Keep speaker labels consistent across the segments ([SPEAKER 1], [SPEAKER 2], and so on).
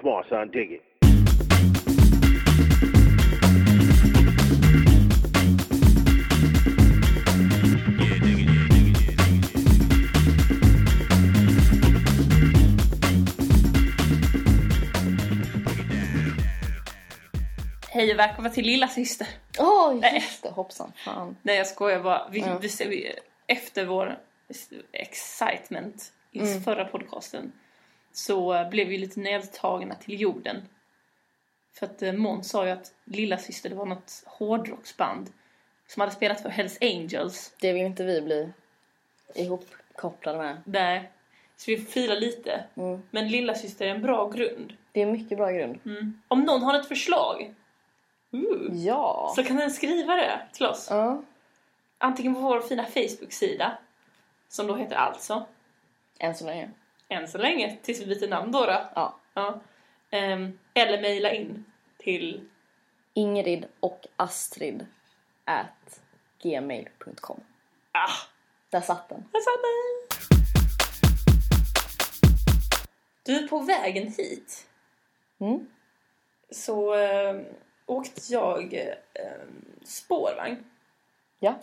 [SPEAKER 1] Come on, son, dig it.
[SPEAKER 2] Hej och välkomna till lilla syster.
[SPEAKER 3] Åh,
[SPEAKER 2] Nej.
[SPEAKER 3] just det. Hoppsan. Fan.
[SPEAKER 2] Nej jag skojar bara. Vi,
[SPEAKER 3] Ja.
[SPEAKER 2] vi, vi, efter vår excitement i
[SPEAKER 3] Mm.
[SPEAKER 2] förra podcasten så blev vi lite nedtagna till jorden. För att eh, Måns sa ju att lilla syster det var något hårdrocksband som hade spelat för Hells Angels.
[SPEAKER 3] Det vill inte vi bli ihopkopplade med.
[SPEAKER 2] Nej. Så vi filar lite.
[SPEAKER 3] Mm.
[SPEAKER 2] Men lilla syster är en bra grund.
[SPEAKER 3] Det är mycket bra grund.
[SPEAKER 2] Om någon har ett förslag uh,
[SPEAKER 3] Ja.
[SPEAKER 2] så kan den skriva det till oss.
[SPEAKER 3] Ja.
[SPEAKER 2] Antingen på vår fina Facebook-sida som då heter alltså
[SPEAKER 3] Än så länge.
[SPEAKER 2] Än så länge, tills vi byter namn då. då.
[SPEAKER 3] Ja.
[SPEAKER 2] Ja. Ehm, eller mejla in till...
[SPEAKER 3] Ingrid och Astrid at gmail.com.
[SPEAKER 2] Ah,
[SPEAKER 3] Där satt den.
[SPEAKER 2] där satt den! Du, är på vägen hit
[SPEAKER 3] Mm.
[SPEAKER 2] så ehm, åkte jag ehm, spårvagn.
[SPEAKER 3] Ja.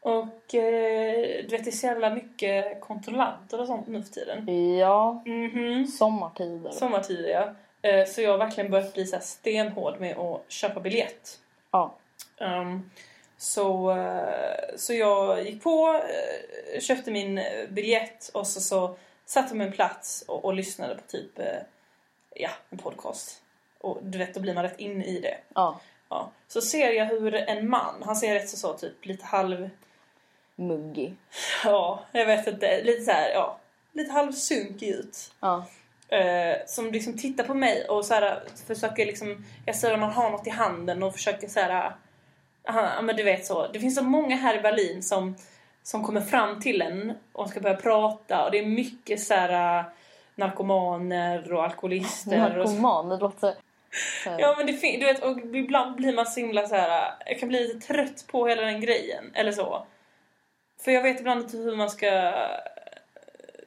[SPEAKER 2] Och eh, du vet, det är så jävla mycket kontrollanter och sånt nu för tiden.
[SPEAKER 3] Ja. Mm-hmm.
[SPEAKER 2] Mhm.
[SPEAKER 3] Sommartider.
[SPEAKER 2] Sommartider, ja. Eh, Så jag har verkligen börjat bli så här stenhård med att köpa biljett.
[SPEAKER 3] Ja.
[SPEAKER 2] Ehm, så, eh, så jag gick på, eh, köpte min eh, biljett och så, så satte jag mig en plats och, och lyssnade på typ eh, ja, en podcast. Och du vet, då blir man rätt in i det.
[SPEAKER 3] Ja.
[SPEAKER 2] Ja. Så ser jag hur en man, han ser rätt så, så typ lite halv,
[SPEAKER 3] Muggy.
[SPEAKER 2] ja, jag vet inte, lite så här, ja, lite halvsunkig ut.
[SPEAKER 3] Ja.
[SPEAKER 2] Eh, som liksom tittar på mig och så här, försöker liksom, jag ser om han har något i handen och försöker så här, han, ja, men du vet så. Det finns så många här i Berlin som, som kommer fram till en och ska börja prata och det är mycket så här narkomaner och alkoholister. Och,
[SPEAKER 3] Narkoman. Det låter... så här-
[SPEAKER 2] ja men det fin- du vet, och ibland blir man så himla så här, jag kan bli lite trött på hela den grejen eller så. För jag vet ibland inte hur man ska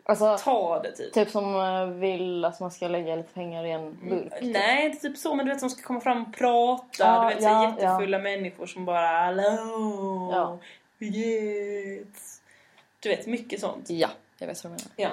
[SPEAKER 3] Alltså,
[SPEAKER 2] ta det typ.
[SPEAKER 3] typ som eh, vill att man ska lägga lite pengar i en burk. typ.
[SPEAKER 2] Nej, inte typ så, men du vet som ska komma fram och prata.
[SPEAKER 3] Ja,
[SPEAKER 2] du vet så här
[SPEAKER 3] ja,
[SPEAKER 2] jättefulla människor som bara hallå,
[SPEAKER 3] Ja.
[SPEAKER 2] yes. Du vet, mycket sånt.
[SPEAKER 3] Ja. Jag vet vad du menar.
[SPEAKER 2] Ja.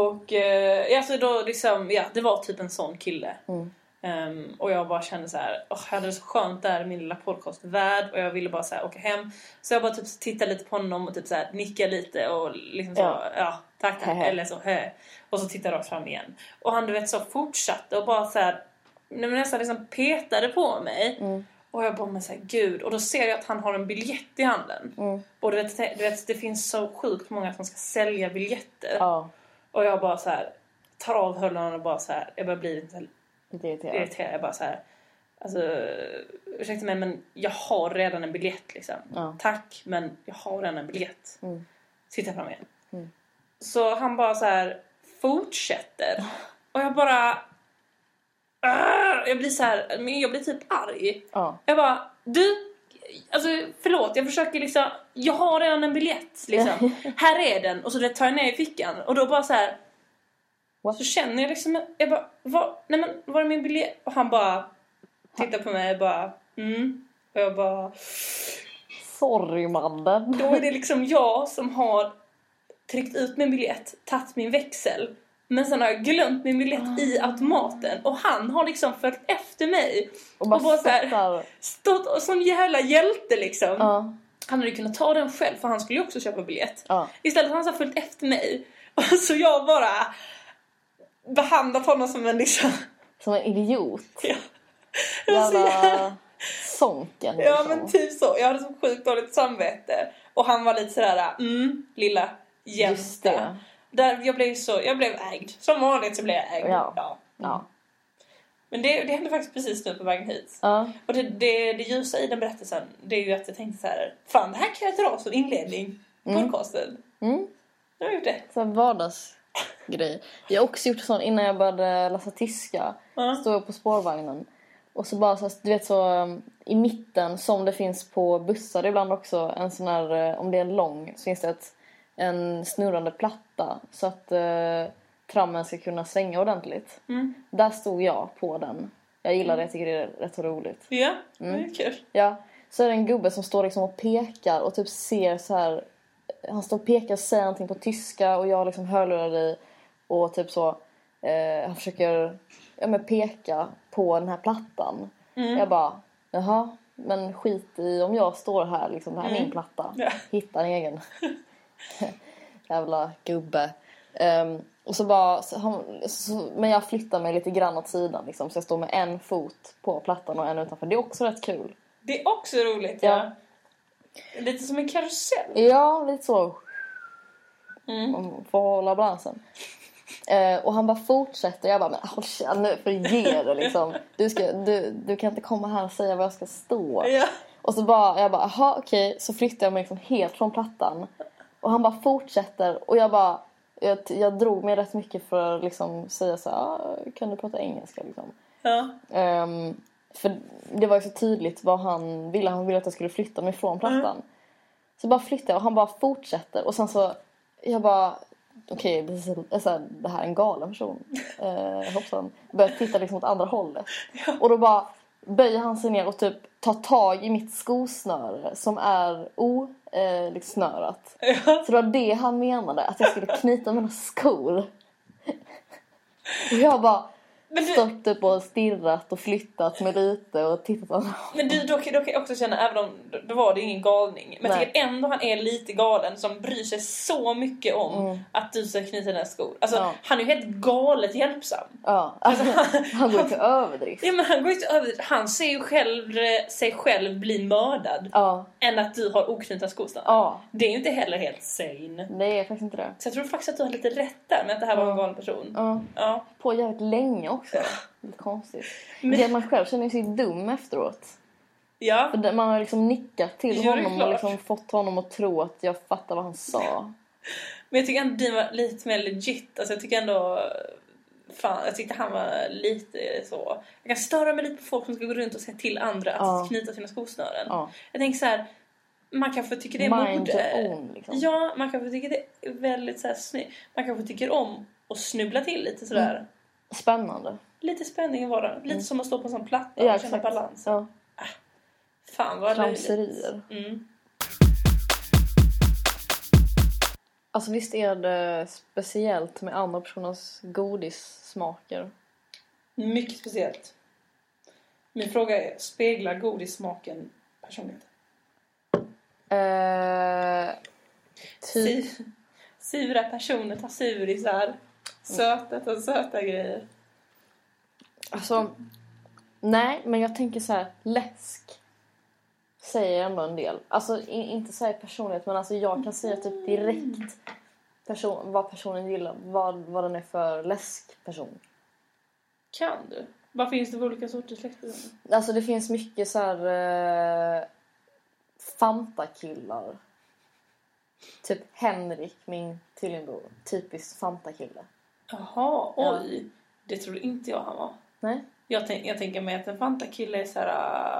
[SPEAKER 2] Och eh, alltså då liksom, ja, det var typ en sån kille.
[SPEAKER 3] Mm.
[SPEAKER 2] Ehm, och jag bara kände så här, åh, jag hade det så skönt där i min lilla podcastvärld och jag ville bara så här, åka hem. Så jag bara typ tittade lite på honom och typ så här, nickade lite och liksom så, ja,
[SPEAKER 3] Ja.
[SPEAKER 2] tack,
[SPEAKER 3] Hehe.
[SPEAKER 2] eller så, hej. Och så tittade jag rakt fram igen. Och han du vet så fortsatte och bara så här, nej, men nästan liksom petade på mig.
[SPEAKER 3] Mm.
[SPEAKER 2] Och jag bara, men så här, gud. Och då ser jag att han har en biljett i handen.
[SPEAKER 3] Mm.
[SPEAKER 2] Och du vet, du vet, det finns så sjukt många som ska sälja biljetter.
[SPEAKER 3] Ja.
[SPEAKER 2] Och jag bara så här tar av hörlurarna och bara så här, jag börjar bli lite
[SPEAKER 3] Lite irriterad.
[SPEAKER 2] irriterad. Jag bara så här, alltså ursäkta mig men jag har redan en biljett liksom.
[SPEAKER 3] Ja.
[SPEAKER 2] Tack men jag har redan en biljett.
[SPEAKER 3] Mm.
[SPEAKER 2] Sitta fram igen.
[SPEAKER 3] Mm.
[SPEAKER 2] Så han bara så här fortsätter. Och jag bara Arr! jag blir så här, men jag blir typ arg.
[SPEAKER 3] Ja.
[SPEAKER 2] Jag bara, du, alltså förlåt, jag försöker liksom, jag har redan en biljett liksom. här är den. Och så tar jag ner i fickan och då bara så här.
[SPEAKER 3] What?
[SPEAKER 2] Så känner jag liksom, jag bara, var, nej men var är min biljett? Och han bara tittar på mig och bara, mm. Och jag bara,
[SPEAKER 3] Sorry mannen.
[SPEAKER 2] då är det liksom jag som har tryckt ut min biljett, tagit min växel. Men sen har jag glömt min biljett i automaten och han har liksom följt efter mig.
[SPEAKER 3] Och bara,
[SPEAKER 2] Och bara så här-
[SPEAKER 3] stöttar.
[SPEAKER 2] Stått och som jävla hjälte liksom.
[SPEAKER 3] Ja.
[SPEAKER 2] Han hade ju kunnat ta den själv för han skulle ju också köpa biljett.
[SPEAKER 3] Ja.
[SPEAKER 2] Istället har han så här följt efter mig. Och så jag bara behandlat honom som en liksom...
[SPEAKER 3] Som en idiot.
[SPEAKER 2] Ja, Jag var så jävla-
[SPEAKER 3] Jävla sonken. liksom.
[SPEAKER 2] ja men typ så. Jag hade så sjukt dåligt samvete. Och han var lite sådär, mm, lilla
[SPEAKER 3] Just
[SPEAKER 2] jämta.
[SPEAKER 3] det.
[SPEAKER 2] Där jag blev så, jag blev ägd. Som vanligt så blev jag ägd.
[SPEAKER 3] Ja.
[SPEAKER 2] Mm.
[SPEAKER 3] Ja.
[SPEAKER 2] Men det, det hände faktiskt precis nu på vägen hit.
[SPEAKER 3] ja.
[SPEAKER 2] Och det, det, det ljusa i den berättelsen, det är ju att jag tänkte så här: fan det här kan jag dra som inledning på
[SPEAKER 3] Mm.
[SPEAKER 2] podcasten.
[SPEAKER 3] Mm.
[SPEAKER 2] Jag har gjort det.
[SPEAKER 3] Så här vardagsgrej. Jag har också gjort sån innan jag började läsa tyska.
[SPEAKER 2] Ja.
[SPEAKER 3] Stod jag på spårvagnen. Och så bara så här, du vet så um, i mitten som det finns på bussar ibland också. En sån här, eh, om det är en lång så finns det ett, en snurrande platta. Så att eh, trammen ska kunna svänga ordentligt.
[SPEAKER 2] Mm.
[SPEAKER 3] Där stod jag på den. Jag gillar det, jag tycker det är rätt så roligt.
[SPEAKER 2] Ja, det
[SPEAKER 3] Mm.
[SPEAKER 2] är kul.
[SPEAKER 3] Ja. Så är det en gubbe som står liksom och pekar och typ ser så här. Han står och pekar och säger någonting på tyska och jag liksom hörlurar i och typ så. Eh, han försöker ja, men peka på den här plattan. Jag bara, jaha, men skit i om jag står här liksom. Det här är min platta.
[SPEAKER 2] Ja.
[SPEAKER 3] Hitta en egen. Jävla gubbe. Ehm, och så bara, så, han- så, men jag flyttar mig lite grann åt sidan liksom, så jag står med en fot på plattan och en utanför. Det är också rätt kul.
[SPEAKER 2] Det är också roligt, ja. Lite som en karusell.
[SPEAKER 3] Ja, lite så.
[SPEAKER 2] Mm.
[SPEAKER 3] Man får hålla balansen. Eh, och han bara fortsätter. Jag bara, men håll käften nu för ge det liksom. Du, ska, du, du kan inte komma här och säga var jag ska stå.
[SPEAKER 2] Ja.
[SPEAKER 3] Och så bara, jag bara, aha okej. Så flyttar jag mig liksom helt från plattan. Och han bara fortsätter. Och jag bara, jag, jag drog mig rätt mycket för att liksom säga så här, "Ah, kan du prata engelska liksom.
[SPEAKER 2] Ja.
[SPEAKER 3] Ehm, för det var ju så tydligt vad han ville. Han ville att jag skulle flytta mig från plattan. Så bara flyttar jag och han bara fortsätter. Och sen så, jag bara, okej, det är så- det är så här, det här är en galen person. Uh, hoppsan. Börjar titta liksom åt andra hållet. Och då bara böjer han sig ner och typ tar tag i mitt skosnöre som är osnörat. Liksom snörat.
[SPEAKER 2] Ja.
[SPEAKER 3] så det var det han menade, att jag skulle knyta mina skor. och jag bara,
[SPEAKER 2] Men, du,
[SPEAKER 3] stått upp och stirrat och flyttat mig lite och tittat på honom.
[SPEAKER 2] men du, då, kan- då kan jag också känna, även om då var det ingen galning, men jag
[SPEAKER 3] Nej.
[SPEAKER 2] tycker ändå han är lite galen som bryr sig så mycket om att du ska knyta dina skor. Alltså,
[SPEAKER 3] Ja.
[SPEAKER 2] han är ju helt galet hjälpsam.
[SPEAKER 3] Ja, alltså, han går till överdrift.
[SPEAKER 2] Ja, men han går ju inte över Han ser ju hellre sig själv bli mördad
[SPEAKER 3] Ja,
[SPEAKER 2] än att du har oknutna skosnören.
[SPEAKER 3] ja,
[SPEAKER 2] Det är ju inte heller helt sane.
[SPEAKER 3] det är faktiskt inte det.
[SPEAKER 2] Så jag tror faktiskt att du har lite rätt där med att det här var en galen person.
[SPEAKER 3] Ja,
[SPEAKER 2] Ja. Äh.
[SPEAKER 3] på jävligt länge också. Lite konstigt.
[SPEAKER 2] Men-
[SPEAKER 3] Det att man själv känner sig dum efteråt.
[SPEAKER 2] Ja.
[SPEAKER 3] För det- Man har liksom nickat till
[SPEAKER 2] Ja, det är
[SPEAKER 3] honom och
[SPEAKER 2] klart.
[SPEAKER 3] liksom fått honom att tro att jag fattar vad han sa.
[SPEAKER 2] Men jag tycker ändå din var lite mer legit. Alltså jag tycker ändå... Fan, jag tyckte han var lite så... Jag kan störa mig lite på folk som ska gå runt och säga till andra att
[SPEAKER 3] Ja.
[SPEAKER 2] knyta sina skosnören.
[SPEAKER 3] Ja.
[SPEAKER 2] Jag tänker så här... Man kanske tycker det är
[SPEAKER 3] Mind
[SPEAKER 2] mode.
[SPEAKER 3] your own liksom.
[SPEAKER 2] Ja, man kanske tycker det är väldigt så här snyggt. Man kanske tycker om att snubbla till lite sådär.
[SPEAKER 3] Mm. Spännande.
[SPEAKER 2] Lite spänning i vardagen. Lite som att stå på en sån platta
[SPEAKER 3] Mm. Ja,
[SPEAKER 2] och känna
[SPEAKER 3] exakt.
[SPEAKER 2] balans.
[SPEAKER 3] Ja.
[SPEAKER 2] Fan vad
[SPEAKER 3] Tramserier.
[SPEAKER 2] Mm.
[SPEAKER 3] Alltså visst är det speciellt med andra personers godissmaker?
[SPEAKER 2] Mycket speciellt. Min fråga är, speglar godissmaken personligheten?
[SPEAKER 3] Eh, typ.
[SPEAKER 2] Sy- Sura personer tar surisar. Söta tar söta grejer.
[SPEAKER 3] Alltså, nej, men jag tänker så här, läsk säger ändå en del. Alltså i, inte så här personligt, men alltså jag kan säga typ direkt person, vad personen gillar, vad, vad den är för läskperson.
[SPEAKER 2] Kan du? Vad finns det för olika sorters läkter?
[SPEAKER 3] Alltså det finns mycket så här eh, Fanta-killar. Typ Henrik, min tvillingbror. Typiskt Fanta-kille.
[SPEAKER 2] Jaha,
[SPEAKER 3] Ja.
[SPEAKER 2] oj. Det trodde inte jag han var.
[SPEAKER 3] Nej?
[SPEAKER 2] Jag, tänk, jag tänker mig att en Fanta-kille är så här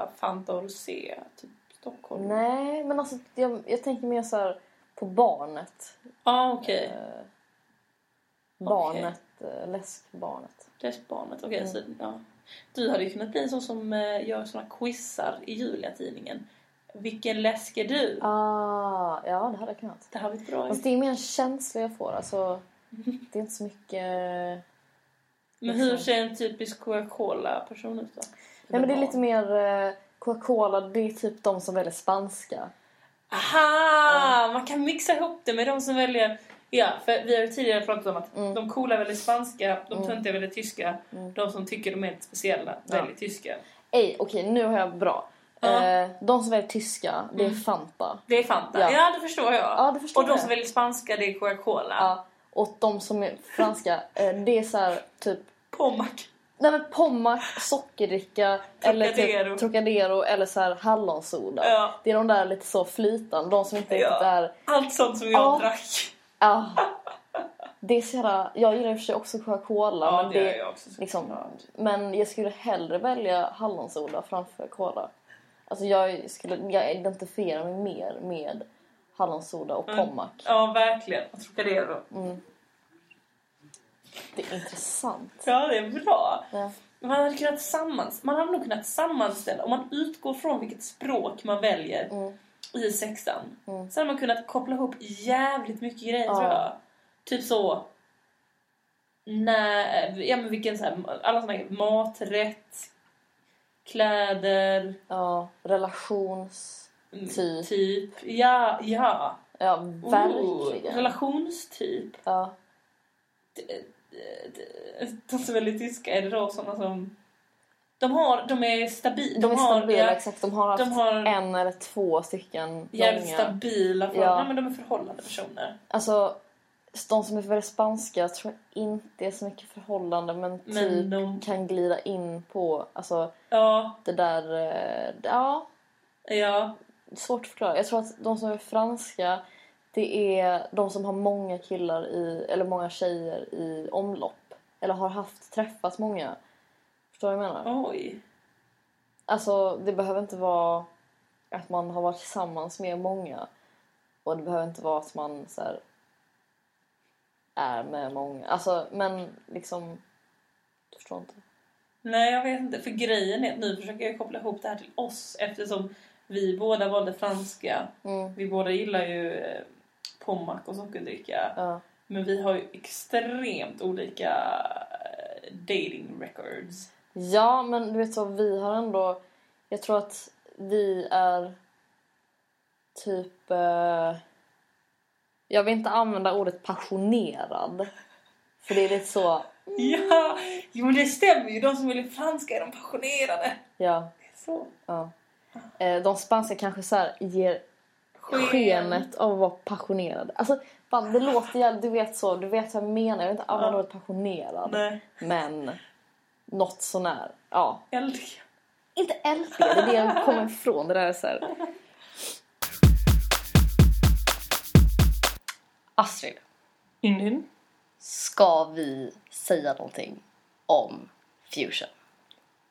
[SPEAKER 2] äh, Fanta och Rosé, typ Stockholm. Ja,
[SPEAKER 3] Nej, men alltså jag, jag tänker mer så här på barnet.
[SPEAKER 2] ah, okej.
[SPEAKER 3] Eh, barnet, eh, läskbarnet.
[SPEAKER 2] Pressbarnet, okej.
[SPEAKER 3] Mm.
[SPEAKER 2] så, ja. Du hade ju kunnat bli en sån som eh, gör såna quizar i Julia-tidningen. Vilken läsk är du?
[SPEAKER 3] Ah, ja det hade jag kunnat.
[SPEAKER 2] Det här var ett bra.
[SPEAKER 3] Fast det är mer en känsla jag får. Alltså, det är inte så mycket...
[SPEAKER 2] Men hur ser en typisk Coca-Cola-person ut då?
[SPEAKER 3] Nej, men det är lite mer eh, Coca-Cola. Det är typ de som väljer spanska.
[SPEAKER 2] Aha! Man kan mixa ihop det med de som väljer... Ja, för vi har ju tidigare pratat om att
[SPEAKER 3] Mm.
[SPEAKER 2] de coola väljer spanska, de
[SPEAKER 3] Mm.
[SPEAKER 2] töntiga väljer tyska,
[SPEAKER 3] Mm.
[SPEAKER 2] de som tycker de är lite speciella
[SPEAKER 3] Ja.
[SPEAKER 2] väljer tyska.
[SPEAKER 3] Ej, okej nu har jag bra.
[SPEAKER 2] Ja. Mm.
[SPEAKER 3] Eh, de som väljer tyska, det är Fanta.
[SPEAKER 2] Det är Fanta. Ja,
[SPEAKER 3] Ja.
[SPEAKER 2] det förstår jag.
[SPEAKER 3] Ja, det förstår
[SPEAKER 2] Och de
[SPEAKER 3] jag.
[SPEAKER 2] som väljer spanska, det är Coca-Cola.
[SPEAKER 3] Ja. Och de som är franska, eh, det är så här typ
[SPEAKER 2] Pommac.
[SPEAKER 3] Nej men Pommac, sockerdricka eller
[SPEAKER 2] Trocadero.
[SPEAKER 3] typ Trocadero eller så här hallonsoda.
[SPEAKER 2] Ja.
[SPEAKER 3] Det är de där lite så flytande, de som inte
[SPEAKER 2] Ja.
[SPEAKER 3] riktigt är...
[SPEAKER 2] Allt sånt som jag
[SPEAKER 3] Ja.
[SPEAKER 2] drack.
[SPEAKER 3] Ah. Det är så jävla... Jag gillar i och för sig också Coca-Cola
[SPEAKER 2] Ja,
[SPEAKER 3] men,
[SPEAKER 2] det
[SPEAKER 3] det,
[SPEAKER 2] gör jag också.
[SPEAKER 3] liksom,
[SPEAKER 2] såklart.
[SPEAKER 3] men jag skulle hellre välja hallonsoda framför cola. Alltså jag, skulle, jag identifierar mig mer med
[SPEAKER 2] Mm.
[SPEAKER 3] hallonsoda och Pommac.
[SPEAKER 2] Ja, verkligen. Jag tror det är då.
[SPEAKER 3] Mm. Det är intressant.
[SPEAKER 2] Ja, det är bra.
[SPEAKER 3] Ja.
[SPEAKER 2] Man hade, kunnat sammans, man hade nog kunnat sammanställa, om man utgår från vilket språk man väljer
[SPEAKER 3] Mm.
[SPEAKER 2] i sexan.
[SPEAKER 3] Mm.
[SPEAKER 2] Så hade man kunnat koppla ihop jävligt mycket grejer
[SPEAKER 3] Ja.
[SPEAKER 2] tror jag. Typ så... När, ja, men vilken så här, alla såna här maträtt, kläder,
[SPEAKER 3] Ja, relations...
[SPEAKER 2] mm,
[SPEAKER 3] Typ.
[SPEAKER 2] typ. Ja, ja.
[SPEAKER 3] Ja,
[SPEAKER 2] Oh,
[SPEAKER 3] verkligen.
[SPEAKER 2] relationstyp.
[SPEAKER 3] ja.
[SPEAKER 2] De som är lite tyska är det då såna som... De, har, de är stabila.
[SPEAKER 3] De är
[SPEAKER 2] har,
[SPEAKER 3] stabila,
[SPEAKER 2] ja,
[SPEAKER 3] exakt. De har haft
[SPEAKER 2] de har
[SPEAKER 3] en eller två stycken
[SPEAKER 2] jävligt
[SPEAKER 3] långa...
[SPEAKER 2] stabila förhållanden.
[SPEAKER 3] Ja.
[SPEAKER 2] Nej, men de är förhållande personer.
[SPEAKER 3] Alltså, de som är väldigt spanska tror jag inte är så mycket förhållande men typ
[SPEAKER 2] Men de...
[SPEAKER 3] kan glida in på alltså,
[SPEAKER 2] Ja,
[SPEAKER 3] det där... eh, Ja,
[SPEAKER 2] ja.
[SPEAKER 3] svårt att förklara. Jag tror att de som är franska det är de som har många killar i, eller många tjejer i omlopp. Eller har haft, träffat många. Förstår du vad jag menar?
[SPEAKER 2] Oj.
[SPEAKER 3] Alltså det behöver inte vara att man har varit tillsammans med många. Och det behöver inte vara att man så här, är med många. Alltså men liksom... Du förstår inte.
[SPEAKER 2] Nej, jag vet inte. För grejen är att nu försöker jag koppla ihop det här till oss eftersom vi båda valde franska.
[SPEAKER 3] Mm.
[SPEAKER 2] Vi båda gillar ju eh, pommack och sockerdricka.
[SPEAKER 3] Ja.
[SPEAKER 2] Men vi har ju extremt olika eh, dating records.
[SPEAKER 3] ja men du vet så vi har ändå... Jag tror att vi är typ... Eh, jag vill inte använda ordet passionerad. För det är lite så...
[SPEAKER 2] Ja, jo men det stämmer ju. De som vill bli franska är de passionerade.
[SPEAKER 3] Ja.
[SPEAKER 2] Så.
[SPEAKER 3] ja. Eh, de spanska kanske så här ger skenet av att vara passionerad. Alltså, fan, det låter jävligt, du vet så, du vet vad jag menar. Jag vill inte använda
[SPEAKER 2] Ja.
[SPEAKER 3] ordet passionerad.
[SPEAKER 2] Nej,
[SPEAKER 3] Men något sånär. Ja.
[SPEAKER 2] äldiga.
[SPEAKER 3] Inte älskar, det är det jag kommer ifrån. Det där är så här. Astrid,
[SPEAKER 2] Indien.
[SPEAKER 3] ska vi säga någonting om fusion?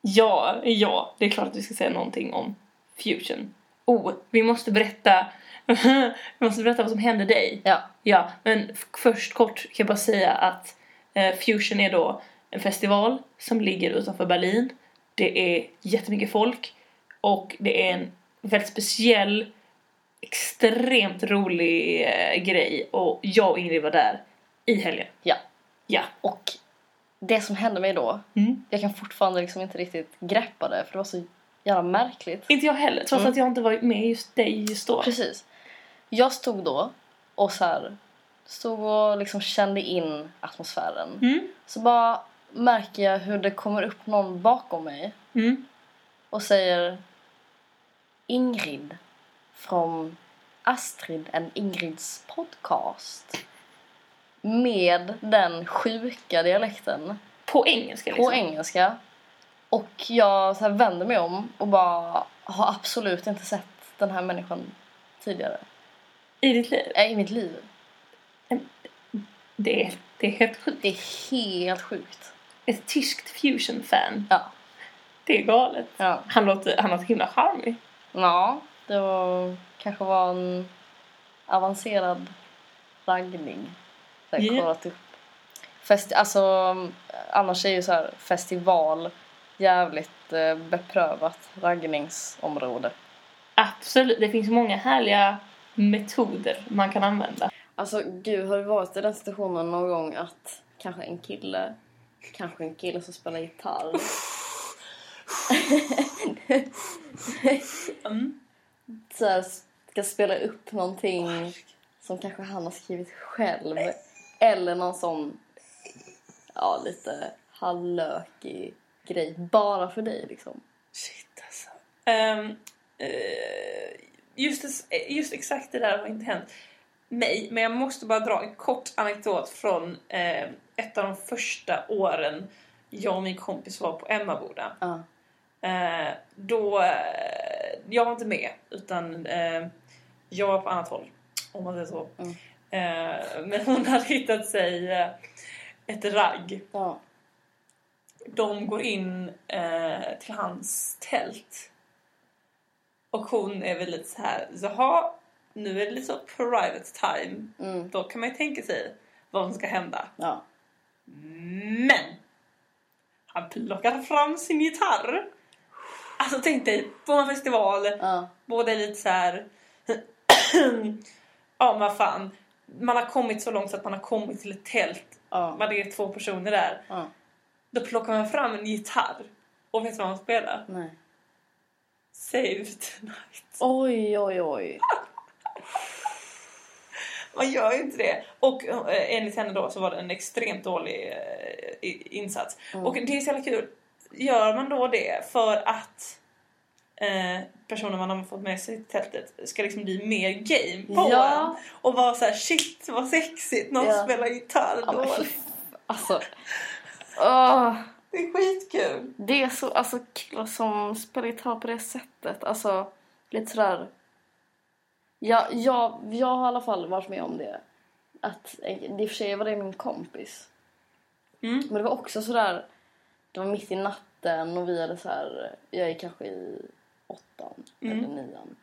[SPEAKER 2] Ja, ja, det är klart att vi ska säga någonting om fusion. Oh, vi måste berätta. vi måste berätta vad som hände dig.
[SPEAKER 3] Ja.
[SPEAKER 2] Ja, men f- först kort kan jag bara säga att eh, Fusion är då en festival som ligger utanför Berlin. Det är jättemycket folk och det är en väldigt speciell, extremt rolig eh, grej och jag och Ingrid var där i helgen.
[SPEAKER 3] Ja.
[SPEAKER 2] Ja.
[SPEAKER 3] Och det som hände mig då,
[SPEAKER 2] Mm.
[SPEAKER 3] jag kan fortfarande liksom inte riktigt greppa det för det var så jävla märkligt.
[SPEAKER 2] Inte jag heller, trots
[SPEAKER 3] Mm.
[SPEAKER 2] att jag inte var med just dig just då.
[SPEAKER 3] Precis. Jag stod då och så här, stod och liksom kände in atmosfären.
[SPEAKER 2] Mm.
[SPEAKER 3] Så bara märker jag hur det kommer upp någon bakom mig
[SPEAKER 2] Mm.
[SPEAKER 3] och säger Ingrid från Astrid and Ingrids podcast. Med den sjuka dialekten
[SPEAKER 2] På engelska liksom.
[SPEAKER 3] på engelska. Och jag så här vänder mig om och bara har absolut inte sett den här människan tidigare.
[SPEAKER 2] I ditt liv.
[SPEAKER 3] Nej, i mitt liv.
[SPEAKER 2] Det är, det är helt sjukt.
[SPEAKER 3] Det är helt sjukt.
[SPEAKER 2] Ett tyskt fusion-fan.
[SPEAKER 3] Ja.
[SPEAKER 2] Det är galet.
[SPEAKER 3] Ja.
[SPEAKER 2] Han låter, han låter himla charmig.
[SPEAKER 3] Ja, det var, kanske var en avancerad raggning. Så här,
[SPEAKER 2] Ja.
[SPEAKER 3] kollat upp. Festi- alltså, annars är ju så här festival jävligt eh, beprövat raggningsområde.
[SPEAKER 2] Absolut, det finns många härliga metoder man kan använda.
[SPEAKER 3] Alltså gud, har du varit i den situationen någon gång att kanske en kille, kanske en kille som spelar gitarr. så här, ska spela upp någonting som kanske han har skrivit själv. Eller någon sån, ja lite halvlökig grej bara för dig liksom.
[SPEAKER 2] Shit alltså. Ehm, eh, just, det- eh, just exakt det där har inte hänt mig. Men jag måste bara dra en kort anekdot från eh, ett av de första åren jag och min kompis var på Emmaboda.
[SPEAKER 3] Ja.
[SPEAKER 2] Eh, då, eh, jag var inte med utan eh, jag var på annat håll om man säger så.
[SPEAKER 3] Mm.
[SPEAKER 2] Eh, men hon hade hittat sig eh, ett ragg.
[SPEAKER 3] Ja.
[SPEAKER 2] De går in eh, till hans tält och hon är väl lite så här, jaha nu är det lite så private time.
[SPEAKER 3] Mm.
[SPEAKER 2] Då kan man ju tänka sig vad som ska hända.
[SPEAKER 3] Ja.
[SPEAKER 2] Men! Han plockar fram sin gitarr. Alltså tänk dig, på en festival,
[SPEAKER 3] Ja.
[SPEAKER 2] båda är lite så här. ja men vad fan. Man har kommit så långt så att man har kommit till ett tält.
[SPEAKER 3] Ja.
[SPEAKER 2] Man är två personer där.
[SPEAKER 3] ja.
[SPEAKER 2] Då plockar man fram en gitarr. Och vet du vad han spelar?
[SPEAKER 3] Nej.
[SPEAKER 2] Save tonight.
[SPEAKER 3] Oj, oj, oj.
[SPEAKER 2] Man gör ju inte det. Och eh, enligt henne då så var det en extremt dålig eh, i- insats.
[SPEAKER 3] Mm.
[SPEAKER 2] Och det är så jävla kul. Gör man då det för att eh, personer man har fått med sig till tältet ska liksom bli mer game på
[SPEAKER 3] Ja.
[SPEAKER 2] en? Och vara så här: shit vad sexigt, någon
[SPEAKER 3] Ja.
[SPEAKER 2] spelar gitarr
[SPEAKER 3] Ja, men fy
[SPEAKER 2] dåligt.
[SPEAKER 3] f- Alltså. Åh.
[SPEAKER 2] Det är skitkul.
[SPEAKER 3] Det är så, alltså killar som spelar gitarr på det sättet, alltså lite sådär... Ja, jag, jag har i alla fall varit med om det. Att, eh, det i och för sig var det min kompis.
[SPEAKER 2] Mm.
[SPEAKER 3] Men det var också sådär, det var mitt i natten och vi hade såhär, jag är kanske i åttan
[SPEAKER 2] Mm.
[SPEAKER 3] eller nian.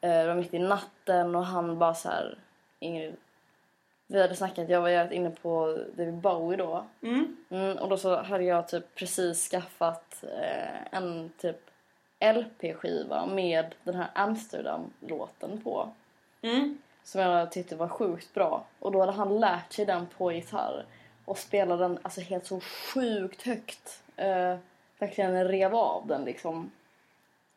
[SPEAKER 3] Eh, Det var mitt i natten och han bara såhär, Ingrid, vi hade snackat, jag var jävligt inne på David Bowie då.
[SPEAKER 2] Mm.
[SPEAKER 3] Mm, och då så hade jag typ precis skaffat eh, en typ LP-skiva med den här Amsterdam-låten på.
[SPEAKER 2] Mm.
[SPEAKER 3] Som jag tyckte var sjukt bra. Och då hade han lärt sig den på gitarr. Och spelade den alltså helt så sjukt högt. Eh, verkligen rev av den liksom.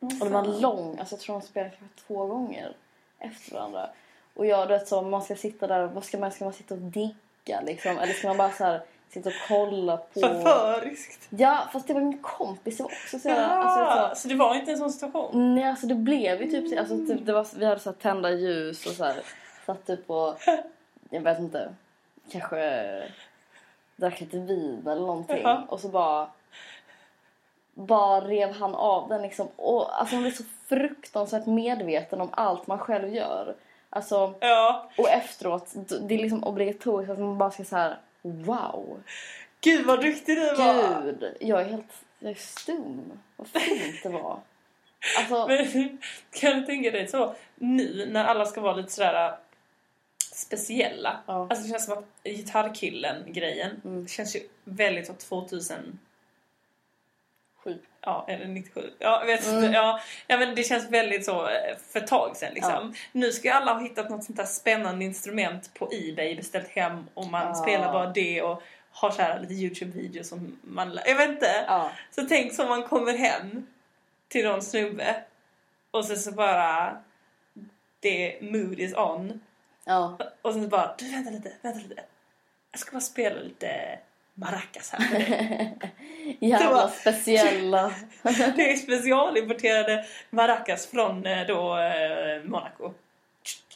[SPEAKER 3] Och den var lång, alltså jag tror de spelade kanske två gånger efter varandra. Och jag, du vet så, man ska sitta där, vad ska man, ska man sitta och digga liksom? Eller ska man bara så här, sitta och kolla på...
[SPEAKER 2] Förföriskt.
[SPEAKER 3] Ja, fast det var min kompis. Det var också så jävla...
[SPEAKER 2] Jaha,
[SPEAKER 3] Alltså, jag sa,
[SPEAKER 2] så det var inte en sån situation?
[SPEAKER 3] nej, alltså det blev ju typ... så- Alltså, typ det var, vi hade så här, tända ljus och så här, satt typ och... Jag vet inte. Kanske drack lite vin eller någonting.
[SPEAKER 2] Jaha.
[SPEAKER 3] Och så bara... Bara rev han av den liksom. Och, alltså man blir så fruktansvärt medveten om allt man själv gör. Alltså,
[SPEAKER 2] Ja.
[SPEAKER 3] och efteråt, det är liksom obligatoriskt att man bara ska så här... Wow!
[SPEAKER 2] Gud vad duktig du var!
[SPEAKER 3] Gud, jag är helt jag är stum. Vad fint det var. Alltså,
[SPEAKER 2] Men kan du tänka dig så nu när alla ska vara lite sådär äh, speciella.
[SPEAKER 3] Ja.
[SPEAKER 2] Alltså det känns som att gitarrkillen-grejen
[SPEAKER 3] Mm.
[SPEAKER 2] känns ju väldigt som 2000
[SPEAKER 3] sju.
[SPEAKER 2] Ja, eller 97. Ja, jag vet
[SPEAKER 3] Mm.
[SPEAKER 2] inte. Ja, ja, men det känns väldigt så eh, för ett tag sedan liksom. Nu ska ju alla ha hittat något sånt där spännande instrument på Ebay, beställt hem och man
[SPEAKER 3] Ja.
[SPEAKER 2] spelar bara det och har så här lite Youtube-videos som man... Jag vet inte.
[SPEAKER 3] Ja.
[SPEAKER 2] Så tänk som man kommer hem till någon snubbe och sen så bara det mood is on
[SPEAKER 3] Ja.
[SPEAKER 2] och sen så bara du vänta lite, vänta lite. Jag ska bara spela lite maracas här för dig. Det
[SPEAKER 3] Jävla
[SPEAKER 2] var-
[SPEAKER 3] speciella.
[SPEAKER 2] Det är specialimporterade maracas från eh, då eh, Monaco.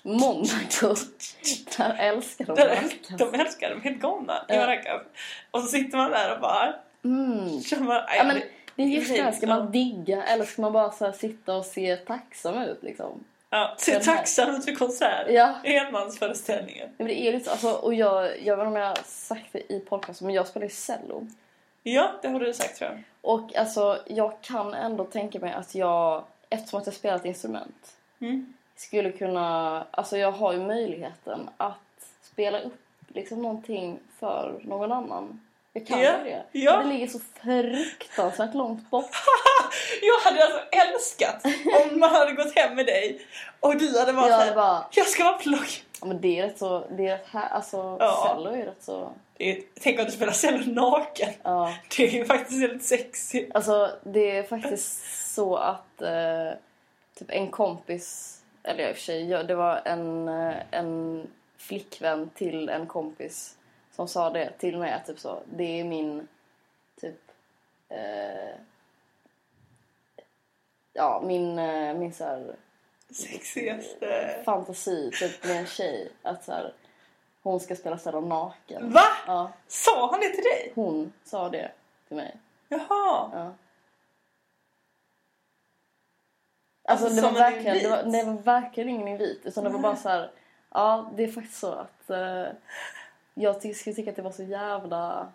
[SPEAKER 3] Monaco. Där älskar de
[SPEAKER 2] Där,
[SPEAKER 3] maracas.
[SPEAKER 2] de älskar, de är helt galna i
[SPEAKER 3] Ja.
[SPEAKER 2] maracas. Och så sitter man där och bara
[SPEAKER 3] Mm.
[SPEAKER 2] kör man,
[SPEAKER 3] Ja, men det är just
[SPEAKER 2] precis,
[SPEAKER 3] det här, ska
[SPEAKER 2] ja.
[SPEAKER 3] man digga eller ska man bara så här sitta och se tacksam ut liksom?
[SPEAKER 2] ja, ser
[SPEAKER 3] den här-
[SPEAKER 2] tacksam ut för konsert.
[SPEAKER 3] Ja.
[SPEAKER 2] Enmansföreställningen.
[SPEAKER 3] Men det är lite så, alltså, och jag, jag vet inte om jag har sagt det i podcasten, men jag spelar ju cello.
[SPEAKER 2] Ja, det har du sagt tror jag.
[SPEAKER 3] Och alltså, jag kan ändå tänka mig att jag, eftersom att jag spelar ett instrument,
[SPEAKER 2] Mm.
[SPEAKER 3] skulle kunna, alltså jag har ju möjligheten att spela upp liksom någonting för någon annan. Jag kan
[SPEAKER 2] Ja,
[SPEAKER 3] ju det.
[SPEAKER 2] ja.
[SPEAKER 3] Men Det ligger så fruktansvärt långt bort.
[SPEAKER 2] Jag hade alltså älskat om man hade gått hem med dig och du hade varit
[SPEAKER 3] Jag
[SPEAKER 2] såhär,
[SPEAKER 3] hade bara,
[SPEAKER 2] jag ska vara plock.
[SPEAKER 3] ja, men det är rätt så, det är rätt här, alltså
[SPEAKER 2] Ja.
[SPEAKER 3] cello är ju rätt så,
[SPEAKER 2] Det är- Tänk om du spelar cello naken.
[SPEAKER 3] ja.
[SPEAKER 2] Det är ju faktiskt väldigt sexigt.
[SPEAKER 3] Alltså det är faktiskt så att eh, typ en kompis, eller i och för sig, jag, det var en, eh, en flickvän till en kompis som sa det till mig att typ så, det är min typ eh, ja min, eh, min så här,
[SPEAKER 2] Sexigaste.
[SPEAKER 3] fantasi typ med en tjej att så här, hon ska spela cello naken.
[SPEAKER 2] Va?
[SPEAKER 3] Ja,
[SPEAKER 2] Sa han det till dig?
[SPEAKER 3] hon sa det till mig.
[SPEAKER 2] Jaha.
[SPEAKER 3] Ja. Alltså,
[SPEAKER 2] Alltså,
[SPEAKER 3] det, var
[SPEAKER 2] som en
[SPEAKER 3] verkligen, det,
[SPEAKER 2] invit.
[SPEAKER 3] var, det var verkligen ingen invit. Utan det var bara så här, ja det är faktiskt så att eh, jag ty- skulle tycka att det var så jävla,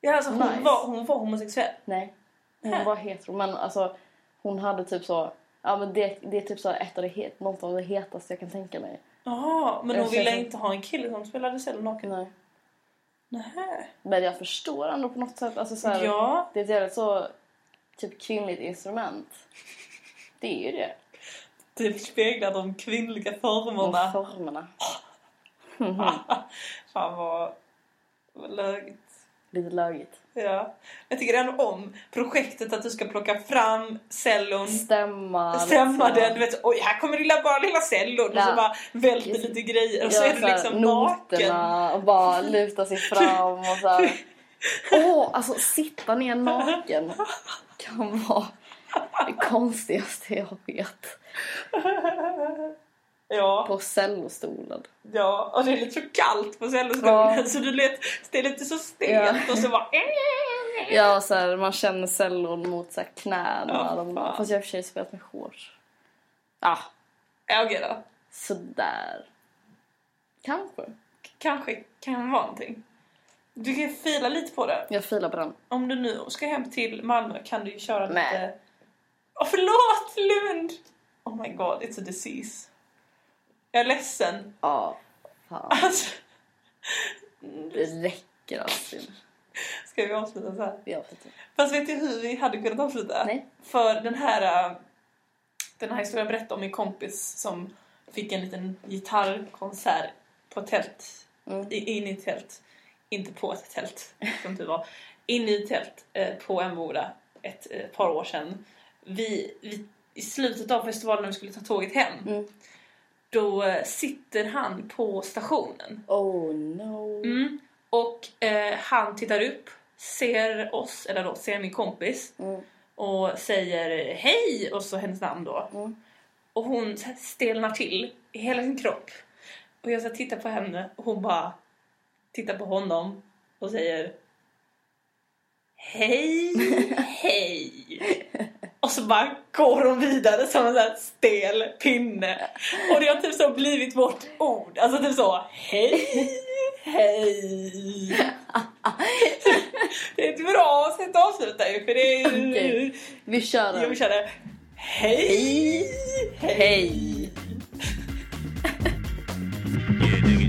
[SPEAKER 2] Ja, alltså, hon,
[SPEAKER 3] Nice.
[SPEAKER 2] var, hon var homosexuell.
[SPEAKER 3] nej
[SPEAKER 2] Hä?
[SPEAKER 3] hon var hetero men alltså hon hade typ så, ja men det, det är typ så här ett av det, het, något av det hetaste jag kan tänka mig.
[SPEAKER 2] Jaha, men
[SPEAKER 3] Jag
[SPEAKER 2] hon ville
[SPEAKER 3] känner-
[SPEAKER 2] inte ha en kille som spelade cello naken.
[SPEAKER 3] Nej.
[SPEAKER 2] Nähä.
[SPEAKER 3] Men jag förstår ändå på något sätt. Alltså, så här,
[SPEAKER 2] Ja.
[SPEAKER 3] Det är ett jävligt så typ kvinnligt instrument. Det är ju det.
[SPEAKER 2] Typ speglar de kvinnliga
[SPEAKER 3] De
[SPEAKER 2] formerna.
[SPEAKER 3] formerna.
[SPEAKER 2] Fan vad, vad löjligt.
[SPEAKER 3] Lite löjigt.
[SPEAKER 2] Ja. Jag tycker ändå om projektet att du ska plocka fram cellon,
[SPEAKER 3] Stämma.
[SPEAKER 2] stämma
[SPEAKER 3] liksom.
[SPEAKER 2] den, du vet, oj här kommer lilla, bara lilla cellon och så
[SPEAKER 3] Ja.
[SPEAKER 2] bara välter lite grejer och så är
[SPEAKER 3] Göra
[SPEAKER 2] du
[SPEAKER 3] så här
[SPEAKER 2] liksom naken.
[SPEAKER 3] noterna och bara luta sig fram och så här. Åh, alltså sitta ner naken kan vara det konstigaste jag vet.
[SPEAKER 2] Ja,
[SPEAKER 3] På cellostolen.
[SPEAKER 2] ja, och det är lite så kallt på cellostolen
[SPEAKER 3] Ja.
[SPEAKER 2] så du vet, det är lite så stelt
[SPEAKER 3] Ja.
[SPEAKER 2] och så bara... "Äh,
[SPEAKER 3] Ja, så här, man känner cellon mot så här, knäna.
[SPEAKER 2] Ja,
[SPEAKER 3] de,
[SPEAKER 2] fan. Ah.
[SPEAKER 3] fast jag har i och för sig spelat med shorts. Ja,
[SPEAKER 2] Ja, okej då.
[SPEAKER 3] sådär. Kanske.
[SPEAKER 2] Kanske kan vara någonting. Du kan ju fila lite på det.
[SPEAKER 3] Jag filar på den.
[SPEAKER 2] Om du nu ska hem till Malmö kan du ju köra
[SPEAKER 3] Nej.
[SPEAKER 2] lite... Åh förlåt Lund! Oh my god, it's a disease. Jag är ledsen.
[SPEAKER 3] Ja, fan.
[SPEAKER 2] Alltså,
[SPEAKER 3] Det räcker alltså.
[SPEAKER 2] ska vi avsluta så här?
[SPEAKER 3] Jag vet inte.
[SPEAKER 2] Fast vet du hur vi hade kunnat avsluta?
[SPEAKER 3] Nej.
[SPEAKER 2] För den här, äh, den här historien jag berättade om min kompis som fick en liten gitarrkonsert på tält.
[SPEAKER 3] Mm.
[SPEAKER 2] I, in i tält. Inte på ett tält, som du var. In i tält eh, på Emmaboda ett eh, par år sedan. Vi, vi, I slutet av festivalen när vi skulle ta tåget hem.
[SPEAKER 3] Mm.
[SPEAKER 2] Då eh, sitter han på stationen.
[SPEAKER 3] Oh no.
[SPEAKER 2] Mm. Och eh, han tittar upp, ser oss, eller då ser min kompis
[SPEAKER 3] Mm.
[SPEAKER 2] och säger hej och så hennes namn då.
[SPEAKER 3] Mm.
[SPEAKER 2] Och hon så här stelnar till i hela sin kropp. Och jag så här tittar på henne och hon bara tittar på honom och säger Hej, hej! Och så bara går hon vidare som en sån här stel pinne. Och det har typ så blivit vårt ord. Alltså typ så, hej, hej. Det är ett bra sätt att avsluta ju för det är ju...
[SPEAKER 3] Okej. Vi kör den.
[SPEAKER 2] Jag vill köra hej, hej.
[SPEAKER 3] Hej.
[SPEAKER 1] Yeah, nigga.